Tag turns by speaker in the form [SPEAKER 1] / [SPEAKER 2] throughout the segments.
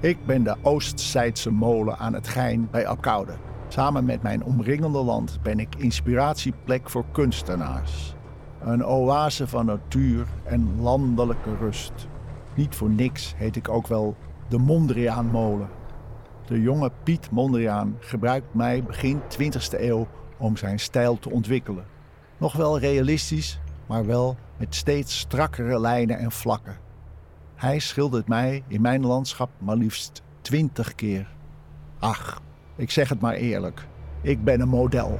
[SPEAKER 1] Ik ben de Oostzijdse molen aan het Gein bij Apkoude. Samen met mijn omringende land ben ik inspiratieplek voor kunstenaars. Een oase van natuur en landelijke rust. Niet voor niks heet ik ook wel de Mondriaanmolen. De jonge Piet Mondriaan gebruikt mij begin 20e eeuw om zijn stijl te ontwikkelen. Nog wel realistisch, maar wel met steeds strakkere lijnen en vlakken. Hij schildert mij in mijn landschap maar liefst 20 keer. Ach, ik zeg het maar eerlijk, ik ben een model.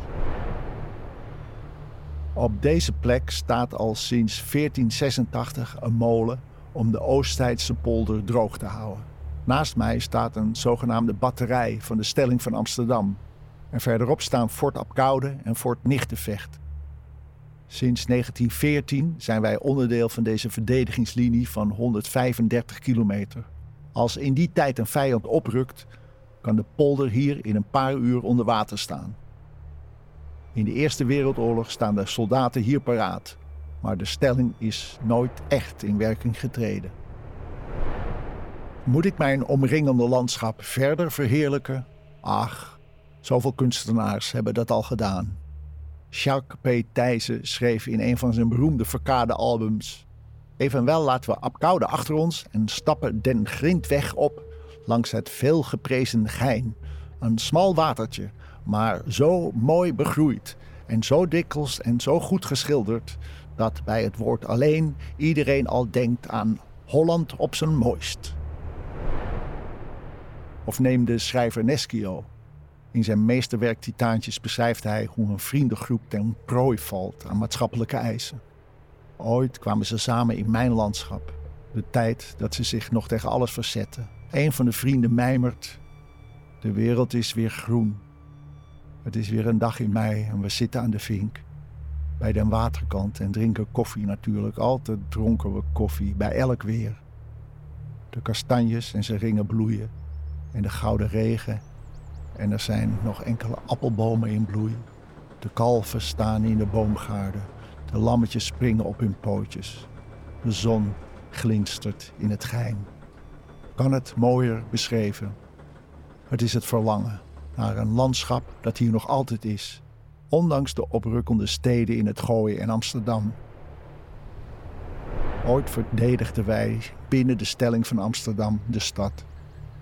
[SPEAKER 1] Op deze plek staat al sinds 1486 een molen om de Oosttijdse polder droog te houden. Naast mij staat een zogenaamde batterij van de Stelling van Amsterdam. En verderop staan Fort Apkoude en Fort Nichtenvecht. Sinds 1914 zijn wij onderdeel van deze verdedigingslinie van 135 kilometer. Als in die tijd een vijand oprukt, kan de polder hier in een paar uur onder water staan. In de Eerste Wereldoorlog staan de soldaten hier paraat, maar de stelling is nooit echt in werking getreden. Moet ik mijn omringende landschap verder verheerlijken? Ach, zoveel kunstenaars hebben dat al gedaan. Jacques P. Thijssen schreef in een van zijn beroemde verkade albums. Evenwel laten we Apkoude achter ons en stappen den grindweg op langs het veelgeprezen Gein. Een smal watertje, maar zo mooi begroeid en zo dikwijls en zo goed geschilderd dat bij het woord alleen iedereen al denkt aan Holland op zijn mooist. Of neem de schrijver Neschio. In zijn meesterwerk Titaantjes beschrijft hij hoe een vriendengroep ten prooi valt aan maatschappelijke eisen. Ooit kwamen ze samen in mijn landschap. De tijd dat ze zich nog tegen alles verzetten. Een van de vrienden mijmert: De wereld is weer groen. Het is weer een dag in mei en we zitten aan de vink. Bij den waterkant en drinken koffie natuurlijk. Altijd dronken we koffie, bij elk weer. De kastanjes en zijn ringen bloeien. En de gouden regen en er zijn nog enkele appelbomen in bloei. De kalven staan in de boomgaarden. De lammetjes springen op hun pootjes. De zon glinstert in het geheim. Kan het mooier beschreven? Het is het verlangen naar een landschap dat hier nog altijd is, ondanks de oprukkende steden in het Gooi en Amsterdam. Ooit verdedigden wij binnen de stelling van Amsterdam de stad.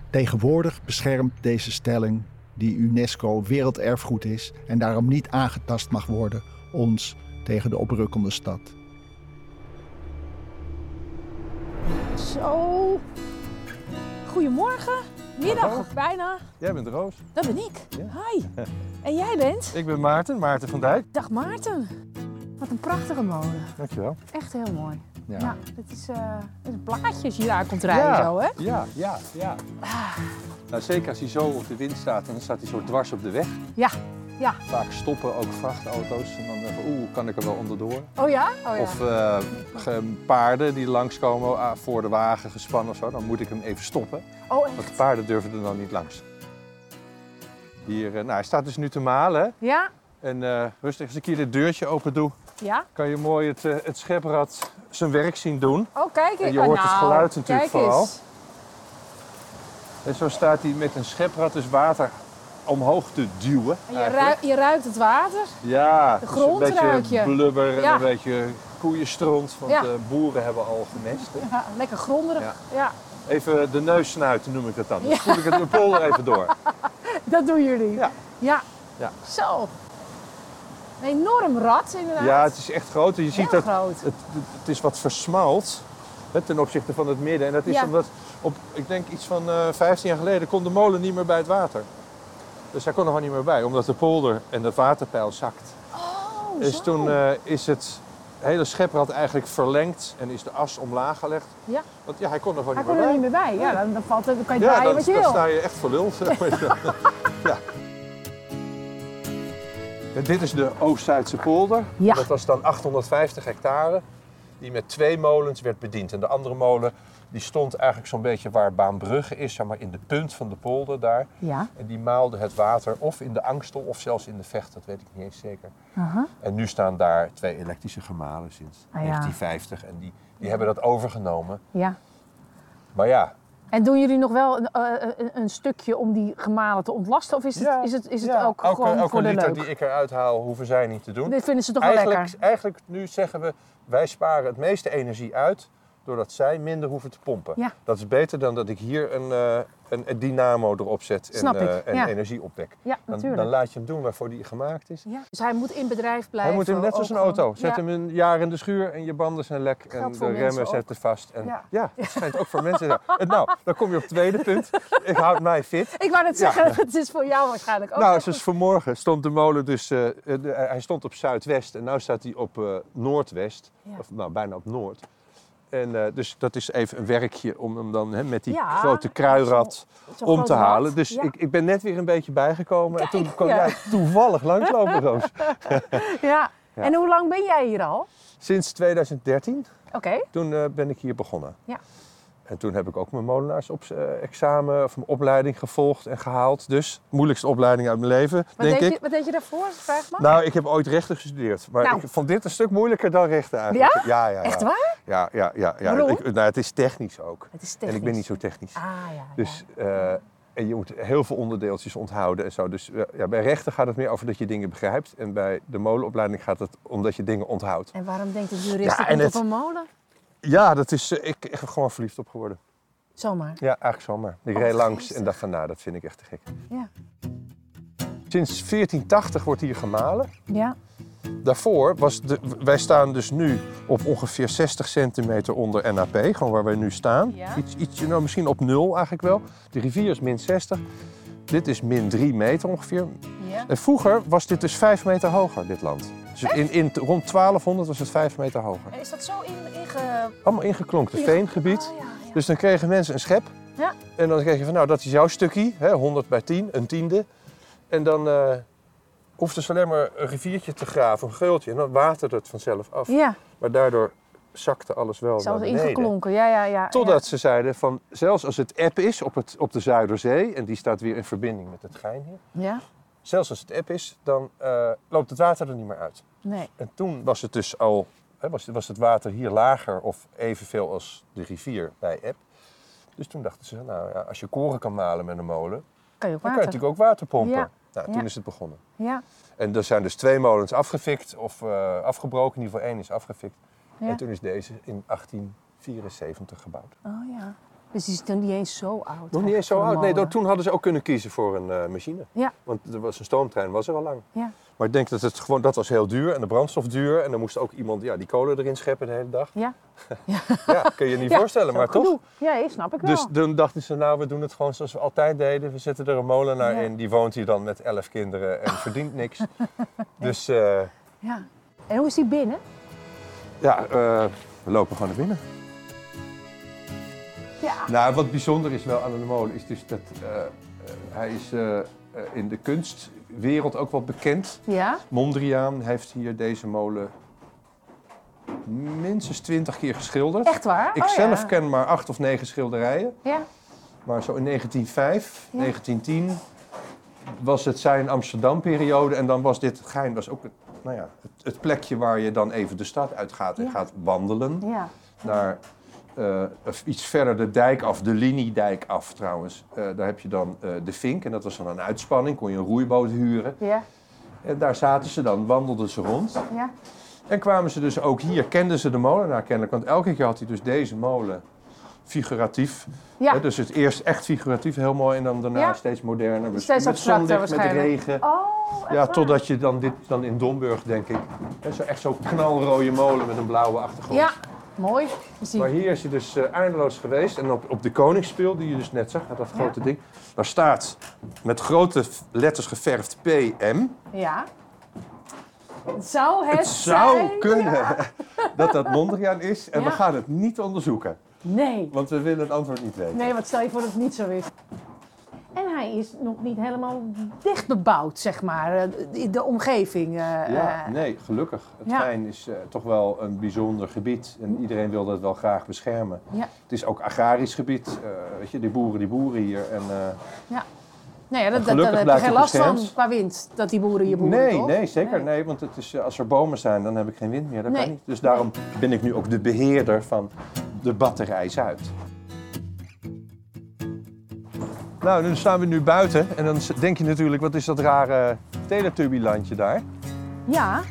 [SPEAKER 1] Tegenwoordig beschermt deze stelling die UNESCO werelderfgoed is en daarom niet aangetast mag worden, ons tegen de oprukkende stad.
[SPEAKER 2] Zo. Goedemorgen, middag of bijna.
[SPEAKER 3] Jij bent Roos.
[SPEAKER 2] Dat ben ik.
[SPEAKER 3] Ja.
[SPEAKER 2] Hi. En jij bent?
[SPEAKER 3] Ik ben Maarten, Maarten van Dijk.
[SPEAKER 2] Dag Maarten. Wat een prachtige molen.
[SPEAKER 3] Dankjewel.
[SPEAKER 2] Echt heel mooi.
[SPEAKER 3] Ja.
[SPEAKER 2] Ja, dit is, eh dit is een plaatje als je daar komt rijden zo, hè?
[SPEAKER 3] Ja, ja, ja. Nou, zeker als hij zo op de wind staat en dan staat hij zo dwars op de weg.
[SPEAKER 2] Ja, ja.
[SPEAKER 3] Vaak stoppen ook vrachtauto's en dan denken oeh, kan ik er wel onderdoor.
[SPEAKER 2] Oh ja? Oh ja.
[SPEAKER 3] Of eh, ge- paarden die langskomen ah, voor de wagen gespannen of zo, dan moet ik hem even stoppen.
[SPEAKER 2] oh,
[SPEAKER 3] Want de
[SPEAKER 2] echt?
[SPEAKER 3] paarden durven er dan niet langs. Hier, eh, nou, hij staat dus nu te malen. hè.
[SPEAKER 2] Ja?
[SPEAKER 3] En eh, rustig, als ik hier dit deurtje open doe,
[SPEAKER 2] Ja?
[SPEAKER 3] kan je mooi het, eh, het scheprad zijn werk zien doen.
[SPEAKER 2] Oh, kijk.
[SPEAKER 3] En je
[SPEAKER 2] oh,
[SPEAKER 3] hoort het
[SPEAKER 2] nou,
[SPEAKER 3] geluid natuurlijk
[SPEAKER 2] kijk
[SPEAKER 3] vooral.
[SPEAKER 2] Eens.
[SPEAKER 3] En zo staat hij met een scheprad dus water omhoog te duwen.
[SPEAKER 2] En je,
[SPEAKER 3] eigenlijk.
[SPEAKER 2] ruikt, je ruikt het water.
[SPEAKER 3] Ja, dus
[SPEAKER 2] grond
[SPEAKER 3] een beetje
[SPEAKER 2] ruik je.
[SPEAKER 3] blubber en
[SPEAKER 2] Ja.
[SPEAKER 3] een beetje koeienstront, want
[SPEAKER 2] Ja.
[SPEAKER 3] de boeren hebben al genest. hè.
[SPEAKER 2] Ja, lekker gronderig. Ja.
[SPEAKER 3] Ja. Even de neus snuiten noem ik het dan. Dan
[SPEAKER 2] Ja.
[SPEAKER 3] voel ik het mijn polder even door.
[SPEAKER 2] Dat doen jullie.
[SPEAKER 3] Ja.
[SPEAKER 2] Ja.
[SPEAKER 3] Ja.
[SPEAKER 2] Zo. Een enorm rad inderdaad.
[SPEAKER 3] Ja, het is echt groot. Je ziet
[SPEAKER 2] Heel
[SPEAKER 3] dat
[SPEAKER 2] groot.
[SPEAKER 3] het, het is wat versmalt hè, ten opzichte van het midden. En dat is
[SPEAKER 2] Ja.
[SPEAKER 3] omdat, op, ik denk iets van eh 15 jaar geleden, kon de molen niet meer bij het water. Dus hij kon er gewoon niet meer bij, omdat de polder en het waterpeil zakt.
[SPEAKER 2] Oh,
[SPEAKER 3] Dus
[SPEAKER 2] zo.
[SPEAKER 3] toen eh, is het hele scheprad eigenlijk verlengd en is de as omlaag gelegd.
[SPEAKER 2] Ja.
[SPEAKER 3] Want ja, hij kon er gewoon
[SPEAKER 2] Hij
[SPEAKER 3] niet
[SPEAKER 2] kon
[SPEAKER 3] meer
[SPEAKER 2] er
[SPEAKER 3] bij.
[SPEAKER 2] niet meer bij. Ja, dan, dan valt het, dan kan je
[SPEAKER 3] ja,
[SPEAKER 2] draaien
[SPEAKER 3] dan,
[SPEAKER 2] wat je
[SPEAKER 3] dan
[SPEAKER 2] wil.
[SPEAKER 3] sta je echt voor lul. zeg maar. ja. Ja, dit is de Oost-Zuidse polder.
[SPEAKER 2] Ja.
[SPEAKER 3] Dat was dan 850 hectare. Die met twee molens werd bediend. En de andere molen die stond eigenlijk zo'n beetje waar Baanbrugge is. Zeg maar in de punt van de polder daar.
[SPEAKER 2] Ja.
[SPEAKER 3] En die maalde het water of in de Angstel of zelfs in de Vecht. Dat weet ik niet eens zeker.
[SPEAKER 2] Aha.
[SPEAKER 3] En nu staan daar twee elektrische gemalen sinds
[SPEAKER 2] Ah, ja.
[SPEAKER 3] 1950. En die, die hebben dat overgenomen.
[SPEAKER 2] Ja.
[SPEAKER 3] Maar ja,
[SPEAKER 2] En doen jullie nog wel een, eh, een, een stukje om die gemalen te ontlasten? Of is het,
[SPEAKER 3] Ja,
[SPEAKER 2] is het, is het
[SPEAKER 3] ja.
[SPEAKER 2] ook
[SPEAKER 3] elke,
[SPEAKER 2] gewoon
[SPEAKER 3] elke
[SPEAKER 2] voor de
[SPEAKER 3] liter
[SPEAKER 2] leuk?
[SPEAKER 3] die ik eruit haal, hoeven zij niet te doen.
[SPEAKER 2] Dit vinden ze toch wel
[SPEAKER 3] Eigenlijk,
[SPEAKER 2] lekker?
[SPEAKER 3] eigenlijk nu zeggen we, wij sparen het meeste energie uit doordat zij minder hoeven te pompen.
[SPEAKER 2] Ja.
[SPEAKER 3] Dat is beter dan dat ik hier een, eh, een, een dynamo erop zet en,
[SPEAKER 2] Snap ik,
[SPEAKER 3] eh, en
[SPEAKER 2] ja.
[SPEAKER 3] energie opwek.
[SPEAKER 2] Ja,
[SPEAKER 3] Dan,
[SPEAKER 2] natuurlijk.
[SPEAKER 3] dan laat je hem doen waarvoor die gemaakt is.
[SPEAKER 2] Ja. Dus hij moet in bedrijf blijven.
[SPEAKER 3] Hij moet hem net
[SPEAKER 2] ook
[SPEAKER 3] zoals een
[SPEAKER 2] gewoon-
[SPEAKER 3] auto. Zet
[SPEAKER 2] Ja.
[SPEAKER 3] hem een jaar in de schuur en je banden zijn lek en
[SPEAKER 2] Geldt
[SPEAKER 3] de
[SPEAKER 2] voor mensen
[SPEAKER 3] remmen
[SPEAKER 2] ook.
[SPEAKER 3] zitten vast. En ja,
[SPEAKER 2] Ja.
[SPEAKER 3] dat schijnt ook voor mensen. te zijn. En Nou, dan kom je op het tweede punt. Ik houd mij fit.
[SPEAKER 2] Ik wou net
[SPEAKER 3] Ja.
[SPEAKER 2] zeggen, het is voor jou waarschijnlijk ook.
[SPEAKER 3] nou,
[SPEAKER 2] wel
[SPEAKER 3] zoals
[SPEAKER 2] goed.
[SPEAKER 3] vanmorgen stond de molen dus... eh, eh, de- hij stond op zuidwest en nu staat hij op eh, noordwest.
[SPEAKER 2] Ja.
[SPEAKER 3] Of nou, bijna op noord. En eh, dus dat is even een werkje om hem dan hè, met die
[SPEAKER 2] Ja,
[SPEAKER 3] grote kruirad
[SPEAKER 2] Zo'n
[SPEAKER 3] om
[SPEAKER 2] groot
[SPEAKER 3] te
[SPEAKER 2] rad.
[SPEAKER 3] halen. Dus
[SPEAKER 2] ja.
[SPEAKER 3] ik, ik ben net weer een beetje bijgekomen. en toen kwam
[SPEAKER 2] ja.
[SPEAKER 3] jij toevallig langslopen, Roos.
[SPEAKER 2] Ja.
[SPEAKER 3] Ja.
[SPEAKER 2] En hoe lang ben jij hier al?
[SPEAKER 3] Sinds 2013.
[SPEAKER 2] Oké.
[SPEAKER 3] Toen eh, ben ik hier begonnen.
[SPEAKER 2] Ja.
[SPEAKER 3] En toen heb ik ook mijn molenaars-examen of mijn opleiding gevolgd en gehaald. Dus moeilijkste opleiding uit mijn leven,
[SPEAKER 2] Wat,
[SPEAKER 3] denk
[SPEAKER 2] deed
[SPEAKER 3] ik.
[SPEAKER 2] Je, wat deed je daarvoor? Vraag maar.
[SPEAKER 3] Nou, ik heb ooit rechten gestudeerd. Maar
[SPEAKER 2] Nou.
[SPEAKER 3] ik vond dit een stuk moeilijker dan rechten eigenlijk. Ja? Ja, ja, ja.
[SPEAKER 2] Echt waar?
[SPEAKER 3] Ja, ja, ja. ja.
[SPEAKER 2] Waarom?
[SPEAKER 3] Ik- nou, het is technisch ook.
[SPEAKER 2] Het is
[SPEAKER 3] En ik ben niet zo technisch.
[SPEAKER 2] Ah ja. ja.
[SPEAKER 3] Dus, eh, en je moet heel veel onderdeeltjes onthouden en zo. Dus eh, ja, bij rechten gaat het meer over dat je dingen begrijpt. En bij de molenopleiding gaat het om dat je dingen onthoudt.
[SPEAKER 2] En waarom denkt de jurist
[SPEAKER 3] Ja,
[SPEAKER 2] ja,
[SPEAKER 3] en
[SPEAKER 2] op
[SPEAKER 3] het-
[SPEAKER 2] een molen?
[SPEAKER 3] Ja, dat is, eh, ik, ik ben gewoon verliefd op geworden.
[SPEAKER 2] Zomaar.
[SPEAKER 3] Ja, eigenlijk zomaar. Ik
[SPEAKER 2] Oh,
[SPEAKER 3] reed langs
[SPEAKER 2] geestig.
[SPEAKER 3] en dacht van, nou, dat vind ik echt te gek.
[SPEAKER 2] Ja.
[SPEAKER 3] Sinds 1480 wordt hier gemalen.
[SPEAKER 2] Ja.
[SPEAKER 3] Daarvoor was de... Wij staan dus nu op ongeveer 60 centimeter onder NAP. Gewoon waar wij nu staan.
[SPEAKER 2] Ja.
[SPEAKER 3] Iets, ietsje, nou, misschien op nul eigenlijk wel. De rivier is min 60. Dit is min 3 meter ongeveer.
[SPEAKER 2] ja.
[SPEAKER 3] En vroeger was dit dus 5 meter hoger, dit land. Dus in, in, rond 1200 was het 5 meter hoger.
[SPEAKER 2] En Eh, is dat zo in, inge...
[SPEAKER 3] Allemaal ingeklonkte veengebied.
[SPEAKER 2] Ah, ja, ja.
[SPEAKER 3] Dus dan kregen mensen een schep.
[SPEAKER 2] Ja.
[SPEAKER 3] En dan kreeg je van, nou, dat is jouw stukje, hè, 100 bij 10, een tiende. En dan eh hoefden ze alleen maar een riviertje te graven, een geultje. En dan waterde het vanzelf af.
[SPEAKER 2] ja.
[SPEAKER 3] Maar daardoor zakte alles wel
[SPEAKER 2] Zo
[SPEAKER 3] naar beneden.
[SPEAKER 2] ingeklonken. Ja, ja, ja.
[SPEAKER 3] Totdat ze zeiden van, zelfs als het app is op, het, op de Zuiderzee... en die staat weer in verbinding met het Gein hier...
[SPEAKER 2] Ja. ja.
[SPEAKER 3] zelfs als het app is, dan eh, loopt het water er niet meer uit.
[SPEAKER 2] Nee.
[SPEAKER 3] En toen was het dus al, hè, was, was het water hier lager of evenveel als de rivier bij Epp. Dus toen dachten ze, nou ja, als je koren kan malen met een molen,
[SPEAKER 2] Kan je ook
[SPEAKER 3] dan kan je
[SPEAKER 2] water.
[SPEAKER 3] natuurlijk ook water pompen.
[SPEAKER 2] Ja.
[SPEAKER 3] Nou, toen
[SPEAKER 2] Ja.
[SPEAKER 3] is het begonnen.
[SPEAKER 2] Ja.
[SPEAKER 3] En er zijn dus twee molens afgefikt of eh, afgebroken, in ieder geval één is afgefikt.
[SPEAKER 2] Ja.
[SPEAKER 3] En toen is deze in 1874 gebouwd.
[SPEAKER 2] Oh ja. Dus die is nog niet eens zo oud.
[SPEAKER 3] Nog niet eens zo
[SPEAKER 2] voor de
[SPEAKER 3] oud. Nee,
[SPEAKER 2] molen.
[SPEAKER 3] dat- toen hadden ze ook kunnen kiezen voor een eh, machine.
[SPEAKER 2] Ja.
[SPEAKER 3] Want er was een stoomtrein was er al lang.
[SPEAKER 2] Ja.
[SPEAKER 3] Maar ik denk dat het gewoon, dat was heel duur en de brandstof duur. En dan moest ook iemand ja, die kolen erin scheppen de hele dag.
[SPEAKER 2] Ja.
[SPEAKER 3] Ja, kun je je niet
[SPEAKER 2] Ja,
[SPEAKER 3] voorstellen,
[SPEAKER 2] zo
[SPEAKER 3] maar toch?
[SPEAKER 2] genoeg. Ja, ik snap ik wel.
[SPEAKER 3] Dus toen dachten ze, nou, we doen het gewoon zoals we altijd deden. We zetten er een molenaar
[SPEAKER 2] Ja.
[SPEAKER 3] in, die woont hier dan met elf kinderen en verdient niks. Dus eh,
[SPEAKER 2] Ja. En hoe is die binnen?
[SPEAKER 3] ja, eh, we lopen gewoon naar binnen.
[SPEAKER 2] Ja.
[SPEAKER 3] Nou, wat bijzonder is wel aan de molen, is dus dat eh, eh, hij is eh, eh, in de kunstwereld ook wel bekend.
[SPEAKER 2] Ja.
[SPEAKER 3] Mondriaan heeft hier deze molen minstens twintig keer geschilderd.
[SPEAKER 2] Echt waar?
[SPEAKER 3] Ik
[SPEAKER 2] Oh,
[SPEAKER 3] zelf
[SPEAKER 2] ja.
[SPEAKER 3] ken maar acht of negen schilderijen.
[SPEAKER 2] Ja.
[SPEAKER 3] Maar zo in 1905,
[SPEAKER 2] Ja.
[SPEAKER 3] 1910 was het zijn Amsterdam-periode. En dan was dit, Gein was ook het, nou ja, het, het plekje waar je dan even de stad uit gaat. En
[SPEAKER 2] Ja.
[SPEAKER 3] gaat wandelen
[SPEAKER 2] Ja.
[SPEAKER 3] naar eh, of iets verder de dijk af, de liniedijk af trouwens. Eh, daar heb je dan eh, de Vink en dat was dan een uitspanning. Kon je een roeiboot huren.
[SPEAKER 2] Ja.
[SPEAKER 3] En daar zaten ze dan, wandelden ze rond.
[SPEAKER 2] Ja.
[SPEAKER 3] En kwamen ze dus ook hier, kenden ze de molenaar kennelijk. Want elke keer had hij dus deze molen figuratief.
[SPEAKER 2] Ja.
[SPEAKER 3] Hè, dus het eerst echt figuratief, heel mooi. En dan daarna
[SPEAKER 2] Ja.
[SPEAKER 3] steeds moderner. Dus Met,
[SPEAKER 2] Steeds
[SPEAKER 3] met
[SPEAKER 2] abstracter
[SPEAKER 3] zonlicht, met
[SPEAKER 2] waarschijnlijk.
[SPEAKER 3] regen.
[SPEAKER 2] Oh, echt
[SPEAKER 3] Ja,
[SPEAKER 2] waar?
[SPEAKER 3] totdat je dan dit dan in Domburg, denk ik. Hè, zo, echt zo'n knalrode molen met een blauwe achtergrond.
[SPEAKER 2] Ja, mooi. Zie-
[SPEAKER 3] Maar hier is hij dus eh, eindeloos geweest. En op, op de Koningsspil, die je dus net zag, dat grote ding. Daar staat met grote letters geverfd PM.
[SPEAKER 2] Ja. Het zou het,
[SPEAKER 3] Het zou
[SPEAKER 2] zijn-
[SPEAKER 3] kunnen
[SPEAKER 2] Ja.
[SPEAKER 3] dat dat Mondriaan is en we
[SPEAKER 2] Ja.
[SPEAKER 3] gaan het niet onderzoeken,
[SPEAKER 2] Nee.
[SPEAKER 3] want we willen het antwoord niet weten.
[SPEAKER 2] Nee, want stel je voor dat het niet zo is. En hij is nog niet helemaal dicht bebouwd, zeg maar. eh, De, de omgeving. eh,
[SPEAKER 3] Ja,
[SPEAKER 2] eh,
[SPEAKER 3] nee, gelukkig. Het
[SPEAKER 2] ja.
[SPEAKER 3] Gein is eh, toch wel een bijzonder gebied en iedereen wil dat wel graag beschermen.
[SPEAKER 2] Ja.
[SPEAKER 3] Het is ook agrarisch gebied, eh, weet je, die boeren die boeren hier. En, eh,
[SPEAKER 2] Nou ja, dat, dat,
[SPEAKER 3] Gelukkig
[SPEAKER 2] daar heb je
[SPEAKER 3] blijft
[SPEAKER 2] geen
[SPEAKER 3] het
[SPEAKER 2] last van
[SPEAKER 3] beschermd.
[SPEAKER 2] qua wind, dat die boeren je boeren,
[SPEAKER 3] nee,
[SPEAKER 2] toch?
[SPEAKER 3] nee, zeker nee,
[SPEAKER 2] Nee.
[SPEAKER 3] want het is, eh, als er bomen zijn dan heb ik geen wind meer, dat
[SPEAKER 2] Nee.
[SPEAKER 3] kan niet. Dus daarom ben ik nu ook de beheerder van de batterij Zuid. Nou, dan staan we nu buiten en dan denk je natuurlijk, wat is dat rare Teletubbylandje daar?
[SPEAKER 2] Ja,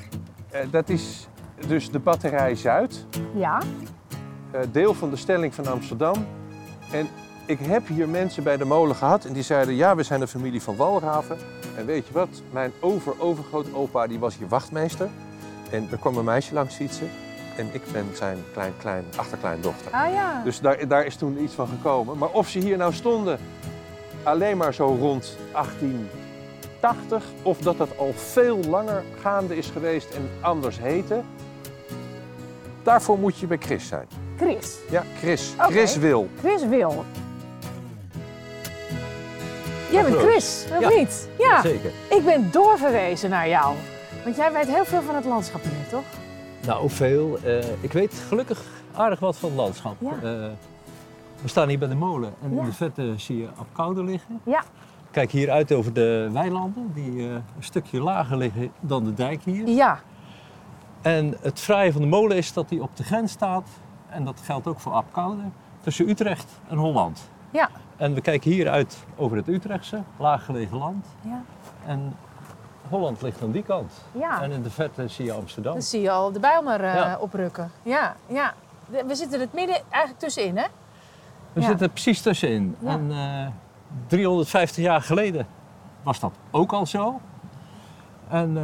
[SPEAKER 3] Eh, dat is dus de batterij Zuid,
[SPEAKER 2] ja.
[SPEAKER 3] eh, deel van de stelling van Amsterdam. En ik heb hier mensen bij de molen gehad en die zeiden, ja, we zijn de familie van Walraven. En weet je wat, mijn over-overgrootopa, die was hier wachtmeester. En er kwam een meisje langs fietsen en ik ben zijn klein-klein achterkleindochter.
[SPEAKER 2] Ah ja.
[SPEAKER 3] Dus daar, daar is toen iets van gekomen. Maar of ze hier nou stonden alleen maar zo rond 1880, of dat dat al veel langer gaande is geweest en anders heette, daarvoor moet je bij Chris zijn.
[SPEAKER 2] Chris.
[SPEAKER 3] Ja, Chris.
[SPEAKER 2] Oké.
[SPEAKER 3] Chris wil.
[SPEAKER 2] Chris Wil. Jij bent
[SPEAKER 4] Applaus.
[SPEAKER 2] Chris, of
[SPEAKER 4] Ja.
[SPEAKER 2] niet? Ja,
[SPEAKER 4] Zeker.
[SPEAKER 2] ik ben doorverwezen naar jou. Want jij weet heel veel van het landschap hier, toch?
[SPEAKER 4] Nou, veel. Eh, ik weet gelukkig aardig wat van het landschap.
[SPEAKER 2] Ja.
[SPEAKER 4] Eh, we staan hier bij de molen en
[SPEAKER 2] Ja.
[SPEAKER 4] in de verte zie je Apkoude liggen.
[SPEAKER 2] Ja.
[SPEAKER 4] Kijk hier uit over de weilanden, die eh, een stukje lager liggen dan de dijk hier.
[SPEAKER 2] Ja,
[SPEAKER 4] En het fraaie van de molen is dat die op de grens staat, en dat geldt ook voor Apkoude, tussen Utrecht en Holland.
[SPEAKER 2] ja,
[SPEAKER 4] En we kijken hier uit over het Utrechtse, laaggelegen land.
[SPEAKER 2] ja.
[SPEAKER 4] En Holland ligt aan die kant.
[SPEAKER 2] ja.
[SPEAKER 4] En in de verte zie je Amsterdam.
[SPEAKER 2] Dan zie je al de Bijlmer eh,
[SPEAKER 4] Oh. Ja.
[SPEAKER 2] oprukken. Ja, ja. De- We zitten het midden eigenlijk tussenin, hè?
[SPEAKER 4] We
[SPEAKER 2] Ja.
[SPEAKER 4] zitten er precies tussenin.
[SPEAKER 2] Ja.
[SPEAKER 4] En eh, 350 jaar geleden was dat ook al zo. En eh,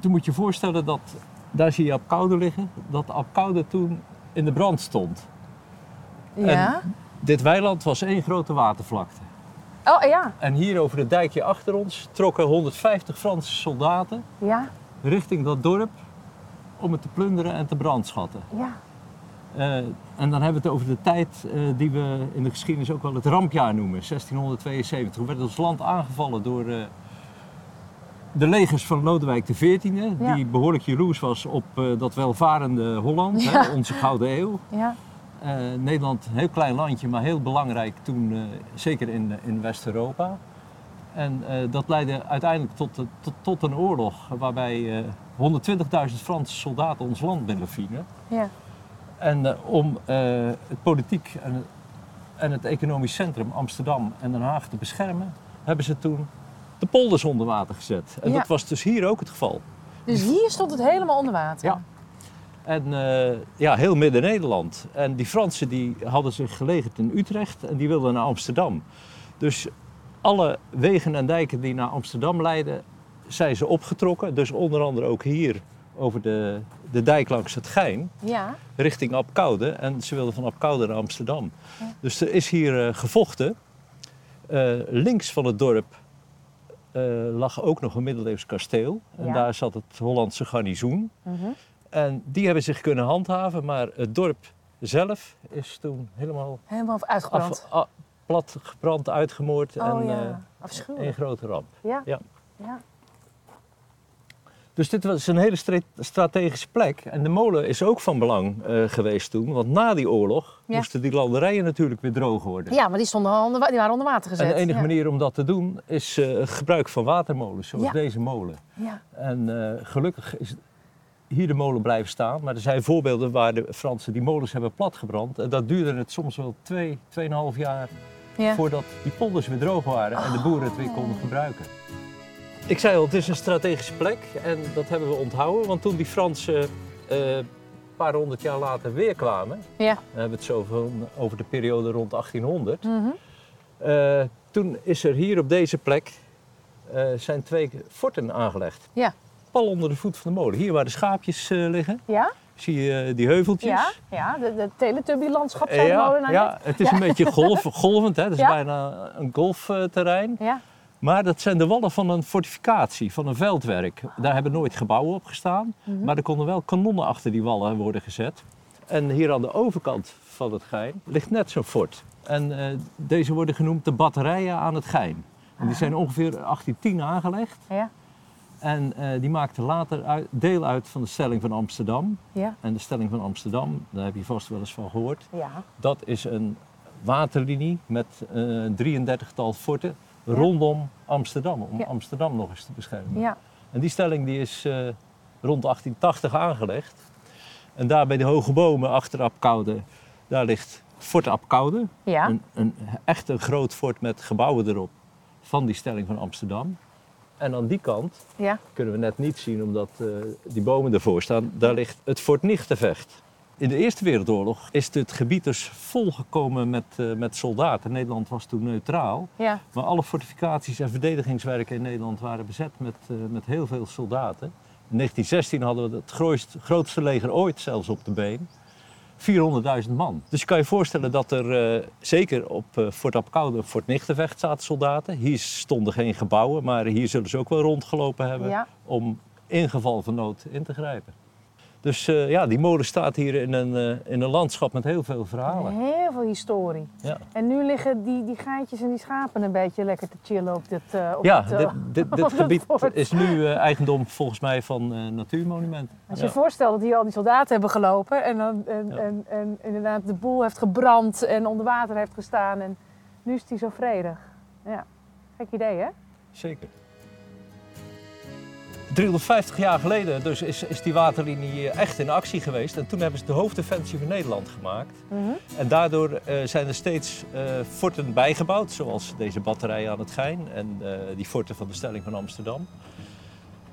[SPEAKER 4] toen moet je je voorstellen dat, daar zie je Apkoude liggen, dat Apkoude toen in de brand stond.
[SPEAKER 2] Ja.
[SPEAKER 4] Dit weiland was één grote watervlakte.
[SPEAKER 2] Oh, ja.
[SPEAKER 4] En hier over het dijkje achter ons trokken 150 Franse soldaten
[SPEAKER 2] Ja,
[SPEAKER 4] richting dat dorp om het te plunderen en te brandschatten.
[SPEAKER 2] ja.
[SPEAKER 4] Eh, en dan hebben we het over de tijd eh, die we in de geschiedenis ook wel het rampjaar noemen, 1672. Toen werd ons land aangevallen door eh, de legers van Lodewijk XIV,
[SPEAKER 2] Ja.
[SPEAKER 4] die behoorlijk jaloers was op eh, dat welvarende Holland, hè, onze Gouden Eeuw.
[SPEAKER 2] Ja,
[SPEAKER 4] Eh, Nederland, een heel klein landje, maar heel belangrijk toen, eh, zeker in, in West-Europa. En eh, dat leidde uiteindelijk tot, de- tot, tot een oorlog waarbij eh 120.000 Franse soldaten ons land binnenvielen.
[SPEAKER 2] ja,
[SPEAKER 4] En eh, om eh, het politiek en, en het economisch centrum Amsterdam en Den Haag te beschermen, hebben ze toen de polders onder water gezet. En
[SPEAKER 2] Ja.
[SPEAKER 4] dat was dus hier ook het geval.
[SPEAKER 2] Dus hier stond het helemaal onder water.
[SPEAKER 4] Ja. En eh, ja, heel Midden-Nederland. En die Fransen die hadden zich gelegerd in Utrecht en die wilden naar Amsterdam. Dus alle wegen en dijken die naar Amsterdam leiden, zijn ze opgetrokken. Dus onder andere ook hier over de, de dijk langs het Gein
[SPEAKER 2] Ja,
[SPEAKER 4] richting Apkoude. En ze wilden van Apkoude naar Amsterdam.
[SPEAKER 2] Ja.
[SPEAKER 4] Dus er is hier eh, gevochten. Eh, links van het dorp eh, lag ook nog een middeleeuws kasteel. En
[SPEAKER 2] Ja.
[SPEAKER 4] daar zat het Hollandse garnizoen.
[SPEAKER 2] Mhm.
[SPEAKER 4] En die hebben zich kunnen handhaven, maar het dorp zelf is toen helemaal
[SPEAKER 2] helemaal
[SPEAKER 4] af,
[SPEAKER 2] uitgebrand.
[SPEAKER 4] a- plat gebrand, uitgemoord
[SPEAKER 2] oh
[SPEAKER 4] en
[SPEAKER 2] ja,
[SPEAKER 4] eh,
[SPEAKER 2] afschuwelijk.
[SPEAKER 4] een grote ramp.
[SPEAKER 2] Ja.
[SPEAKER 4] ja.
[SPEAKER 2] Ja.
[SPEAKER 4] Dus dit was een hele stra- strategische plek. En de molen is ook van belang eh, geweest toen. Want na die oorlog
[SPEAKER 2] Ja.
[SPEAKER 4] moesten die landerijen natuurlijk weer droog worden.
[SPEAKER 2] ja, maar die, stonden al onder, wa- die waren onder water gezet.
[SPEAKER 4] En de enige
[SPEAKER 2] ja.
[SPEAKER 4] manier om dat te doen is eh, het gebruik van watermolens, zoals
[SPEAKER 2] Ja.
[SPEAKER 4] deze molen.
[SPEAKER 2] Ja,
[SPEAKER 4] En eh, gelukkig is hier de molen blijven staan. Maar er zijn voorbeelden waar de Fransen die molens hebben platgebrand. En dat duurde het soms wel twee, tweeënhalf jaar
[SPEAKER 2] ja. Oh.
[SPEAKER 4] voordat die polders weer droog waren en de boeren het weer konden gebruiken. Ik zei al, het is een strategische plek en dat hebben we onthouden. Want toen die Fransen eh, een paar honderd jaar later weer kwamen,
[SPEAKER 2] Ja.
[SPEAKER 4] dan hebben we het zo van- over de periode rond 1800.
[SPEAKER 2] Mhm.
[SPEAKER 4] Eh, toen is er hier op deze plek eh, zijn twee forten aangelegd.
[SPEAKER 2] Ja.
[SPEAKER 4] Pal onder de voet van de molen. Hier waar de schaapjes eh, liggen,
[SPEAKER 2] ja,
[SPEAKER 4] zie je eh, die heuveltjes.
[SPEAKER 2] ja, ja. De, de Teletubby-landschap
[SPEAKER 4] Eh,
[SPEAKER 2] zou
[SPEAKER 4] ja,
[SPEAKER 2] molen
[SPEAKER 4] ja, het is een beetje golf, golvend, hè. het is
[SPEAKER 2] Ja.
[SPEAKER 4] bijna een golfterrein.
[SPEAKER 2] ja.
[SPEAKER 4] Maar dat zijn de wallen van een fortificatie, van een veldwerk. Daar hebben nooit gebouwen op gestaan,
[SPEAKER 2] Mhm.
[SPEAKER 4] maar er konden wel kanonnen achter die wallen worden gezet. En hier aan de overkant van het Gein ligt net zo'n fort. En eh, deze worden genoemd de batterijen aan het Gein. En die zijn ongeveer 1810 aangelegd.
[SPEAKER 2] Ja.
[SPEAKER 4] En eh, die maakten later uit- deel uit van de stelling van Amsterdam.
[SPEAKER 2] Ja.
[SPEAKER 4] En de stelling van Amsterdam, daar heb je vast wel eens van gehoord.
[SPEAKER 2] Ja.
[SPEAKER 4] Dat is een waterlinie met eh 33-tal forten rondom Amsterdam, om
[SPEAKER 2] Ja.
[SPEAKER 4] Amsterdam nog eens te beschermen.
[SPEAKER 2] Ja.
[SPEAKER 4] En die stelling die is eh, rond 1880 aangelegd. En daar bij de hoge bomen achter Apkoude, daar ligt Fort Apkoude.
[SPEAKER 2] Ja.
[SPEAKER 4] Een, een, echt een groot fort met gebouwen erop van die stelling van Amsterdam. En aan die kant
[SPEAKER 2] ja.
[SPEAKER 4] kunnen we net niet zien omdat eh, die bomen ervoor staan. Daar ligt het Fort Nichtevecht. In de Eerste Wereldoorlog is het gebied dus volgekomen met, eh, met soldaten. Nederland was toen neutraal.
[SPEAKER 2] ja.
[SPEAKER 4] Maar alle fortificaties en verdedigingswerken in Nederland waren bezet met, eh, met heel veel soldaten. In 1916 hadden we het grootst- grootste leger ooit zelfs op de been. 400.000 man. Dus je kan je voorstellen dat er eh, zeker op eh, Fort Apkoude en Fort Nichtenvecht zaten soldaten. Hier stonden geen gebouwen, maar hier zullen ze ook wel rondgelopen hebben
[SPEAKER 2] Ja.
[SPEAKER 4] om in geval van nood in te grijpen. Dus eh, ja, die molen staat hier in een, eh, in een landschap met heel veel verhalen.
[SPEAKER 2] Heel veel historie.
[SPEAKER 4] Ja.
[SPEAKER 2] En nu liggen die, die gaatjes en die schapen een beetje lekker te chillen op dit... eh, op
[SPEAKER 4] Ja,
[SPEAKER 2] dit, eh,
[SPEAKER 4] dit, dit, dit
[SPEAKER 2] op het
[SPEAKER 4] gebied
[SPEAKER 2] fort.
[SPEAKER 4] is nu eh, eigendom volgens mij van eh natuurmonumenten.
[SPEAKER 2] Als je
[SPEAKER 4] Ja.
[SPEAKER 2] je voorstelt dat hier al die soldaten hebben gelopen en, dan, en,
[SPEAKER 4] Ja.
[SPEAKER 2] en, en inderdaad de boel heeft gebrand en onder water heeft gestaan en nu is die zo vredig. Ja, gek idee hè?
[SPEAKER 4] Zeker. 350 jaar geleden dus is, is die waterlinie echt in actie geweest. En toen hebben ze de hoofddefensie van Nederland gemaakt.
[SPEAKER 2] Mhm.
[SPEAKER 4] En daardoor eh, zijn er steeds eh, forten bijgebouwd, zoals deze batterij aan het Gein en eh, die forten van de Stelling van Amsterdam.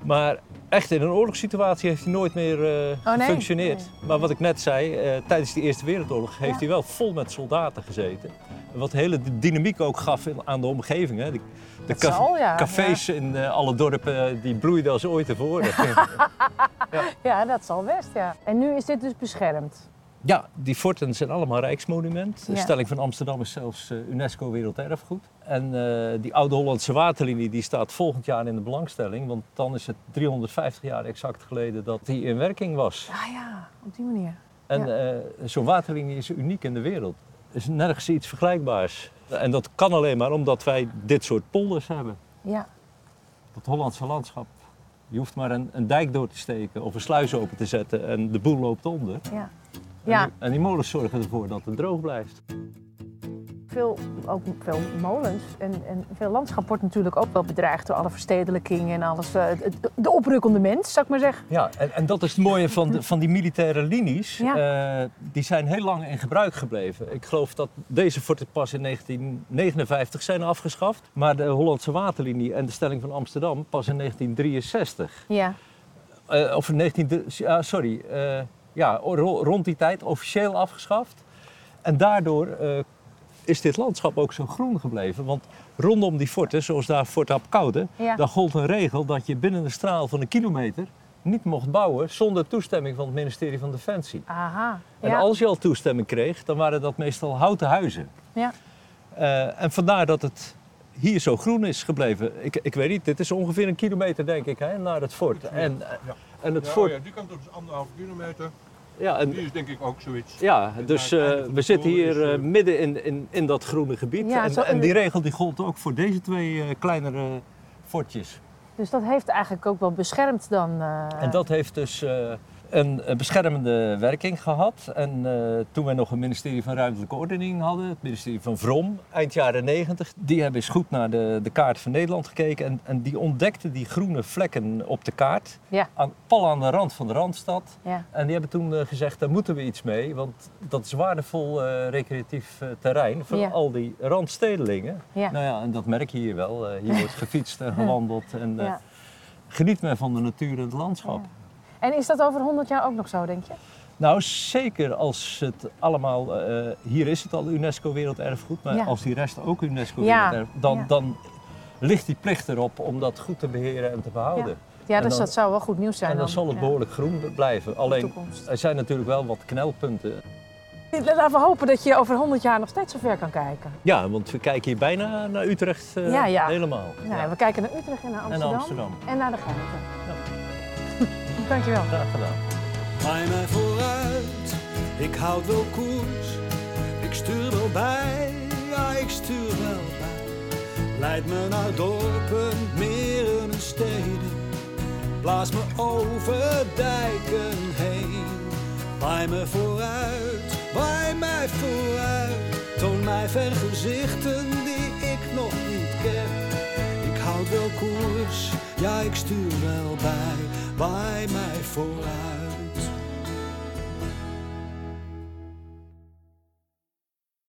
[SPEAKER 4] Maar echt in een oorlogssituatie heeft hij nooit meer eh,
[SPEAKER 2] Oh, nee.
[SPEAKER 4] gefunctioneerd. Maar wat ik net zei, eh, tijdens de Eerste Wereldoorlog heeft
[SPEAKER 2] Ja.
[SPEAKER 4] hij wel vol met soldaten gezeten. Wat hele d- dynamiek ook gaf in- aan de omgeving. Hè. De, de
[SPEAKER 2] Dat
[SPEAKER 4] caf-
[SPEAKER 2] zal, ja.
[SPEAKER 4] cafés in eh, alle dorpen die bloeiden als ooit tevoren.
[SPEAKER 2] Ja, dat zal best ja. En nu is dit dus beschermd.
[SPEAKER 4] Ja, die forten zijn allemaal rijksmonument. De
[SPEAKER 2] Ja.
[SPEAKER 4] stelling van Amsterdam is zelfs eh, UNESCO Werelderfgoed. En eh, die oude Hollandse waterlinie die staat volgend jaar in de belangstelling. Want dan is het 350 jaar exact geleden dat die in werking was.
[SPEAKER 2] Ah ja, op die manier.
[SPEAKER 4] En
[SPEAKER 2] Ja.
[SPEAKER 4] eh, zo'n waterlinie is uniek in de wereld. Er is nergens iets vergelijkbaars. En dat kan alleen maar omdat wij dit soort polders hebben.
[SPEAKER 2] Ja,
[SPEAKER 4] Dat Hollandse landschap. Je hoeft maar een, een dijk door te steken of een sluis open te zetten en de boel loopt onder.
[SPEAKER 2] ja.
[SPEAKER 4] En,
[SPEAKER 2] Ja,
[SPEAKER 4] die, en die molens zorgen ervoor dat het droog blijft.
[SPEAKER 2] veel, ook veel molens en, en veel landschap wordt natuurlijk ook wel bedreigd door alle verstedelijking en alles. eh, het- het- de oprukkende mens, zou ik maar zeggen.
[SPEAKER 4] Ja, en, en dat is het mooie van, de- van die militaire linies.
[SPEAKER 2] Ja.
[SPEAKER 4] Eh, die zijn heel lang in gebruik gebleven. Ik geloof dat deze forten pas in 1959 zijn afgeschaft. Maar de Hollandse Waterlinie en de stelling van Amsterdam pas in 1963.
[SPEAKER 2] Ja,
[SPEAKER 4] Eh, of in 19... ja, sorry. eh, ja, ro- rond die tijd officieel afgeschaft. En daardoor eh, is dit landschap ook zo groen gebleven. Want rondom die forten, zoals daar Fort Apkoude...
[SPEAKER 2] Ja.
[SPEAKER 4] daar gold een regel dat je binnen een straal van een kilometer... niet mocht bouwen zonder toestemming van het ministerie van Defensie.
[SPEAKER 2] aha.
[SPEAKER 4] En
[SPEAKER 2] ja.
[SPEAKER 4] als je al toestemming kreeg, dan waren dat meestal houten huizen.
[SPEAKER 2] Ja.
[SPEAKER 4] Eh, en vandaar dat het hier zo groen is gebleven. Ik, ik weet niet, dit is ongeveer een kilometer denk ik hè, naar het fort. En,
[SPEAKER 5] Ja.
[SPEAKER 4] en het
[SPEAKER 5] ja,
[SPEAKER 4] fort
[SPEAKER 5] oh ja, die kant op is anderhalf kilometer.
[SPEAKER 4] ja, en,
[SPEAKER 5] Die is denk ik ook zoiets.
[SPEAKER 4] ja,
[SPEAKER 5] Het
[SPEAKER 4] dus
[SPEAKER 5] aan het
[SPEAKER 4] eh,
[SPEAKER 5] einde van
[SPEAKER 4] we
[SPEAKER 5] de
[SPEAKER 4] zitten
[SPEAKER 5] toren
[SPEAKER 4] hier
[SPEAKER 5] is,
[SPEAKER 4] eh,
[SPEAKER 5] eh,
[SPEAKER 4] midden in, in, in dat groene gebied.
[SPEAKER 2] Ja, zo- eh,
[SPEAKER 4] en, en die regel die gold ook voor deze twee eh, kleinere fortjes.
[SPEAKER 2] Dus dat heeft eigenlijk ook wel beschermd dan. eh,
[SPEAKER 4] En dat heeft dus eh, een, een beschermende werking gehad. En eh, toen wij nog een ministerie van Ruimtelijke Ordening hadden, het ministerie van Vrom, eind jaren 90, die hebben eens goed naar de, de kaart van Nederland gekeken. En, en die ontdekten die groene vlekken op de kaart,
[SPEAKER 2] Ja.
[SPEAKER 4] aan, pal aan de rand van de randstad.
[SPEAKER 2] Ja,
[SPEAKER 4] En die hebben toen eh, gezegd, daar moeten we iets mee, want dat is waardevol eh, recreatief eh, terrein voor
[SPEAKER 2] Ja.
[SPEAKER 4] al die randstedelingen.
[SPEAKER 2] ja.
[SPEAKER 4] Nou ja, en dat merk je hier wel. Eh, hier wordt gefietst en gewandeld en eh,
[SPEAKER 2] ja.
[SPEAKER 4] geniet men van de natuur en het landschap.
[SPEAKER 2] Ja. En is dat over 100 jaar ook nog zo, denk je?
[SPEAKER 4] Nou, zeker als het allemaal, eh, hier is het al UNESCO Werelderfgoed, maar
[SPEAKER 2] Ja.
[SPEAKER 4] als die rest ook UNESCO
[SPEAKER 2] Ja,
[SPEAKER 4] Werelderfgoed, dan,
[SPEAKER 2] ja.
[SPEAKER 4] dan ligt die plicht erop om dat goed te beheren en te behouden.
[SPEAKER 2] Ja,
[SPEAKER 4] En
[SPEAKER 2] dus
[SPEAKER 4] dan-
[SPEAKER 2] dat zou wel goed nieuws zijn.
[SPEAKER 4] en dan
[SPEAKER 2] dan.
[SPEAKER 4] zal het
[SPEAKER 2] Ja,
[SPEAKER 4] behoorlijk groen blijven.
[SPEAKER 2] voor de
[SPEAKER 4] Alleen,
[SPEAKER 2] toekomst.
[SPEAKER 4] er zijn natuurlijk wel wat knelpunten.
[SPEAKER 2] Laten we hopen dat je over 100 jaar nog steeds zo ver kan kijken.
[SPEAKER 4] Ja, want we kijken hier bijna naar Utrecht eh,
[SPEAKER 2] Ja, ja.
[SPEAKER 4] helemaal.
[SPEAKER 2] Nou,
[SPEAKER 4] Ja.
[SPEAKER 2] We kijken naar Utrecht en naar
[SPEAKER 4] En
[SPEAKER 2] Amsterdam.
[SPEAKER 4] naar Amsterdam.
[SPEAKER 2] En naar de Gaten. Dankjewel.
[SPEAKER 4] Graag gedaan.
[SPEAKER 6] Draai mij vooruit, ik houd wel koers. Ik stuur wel bij, ja ik stuur wel bij. Leid me naar dorpen, meren en steden. Blaas me over dijken heen. Waai me vooruit, waai mij vooruit. Toon mij vergezichten die ik nog niet ken. Ik houd wel koers, ja ik stuur wel bij. Waai mij vooruit.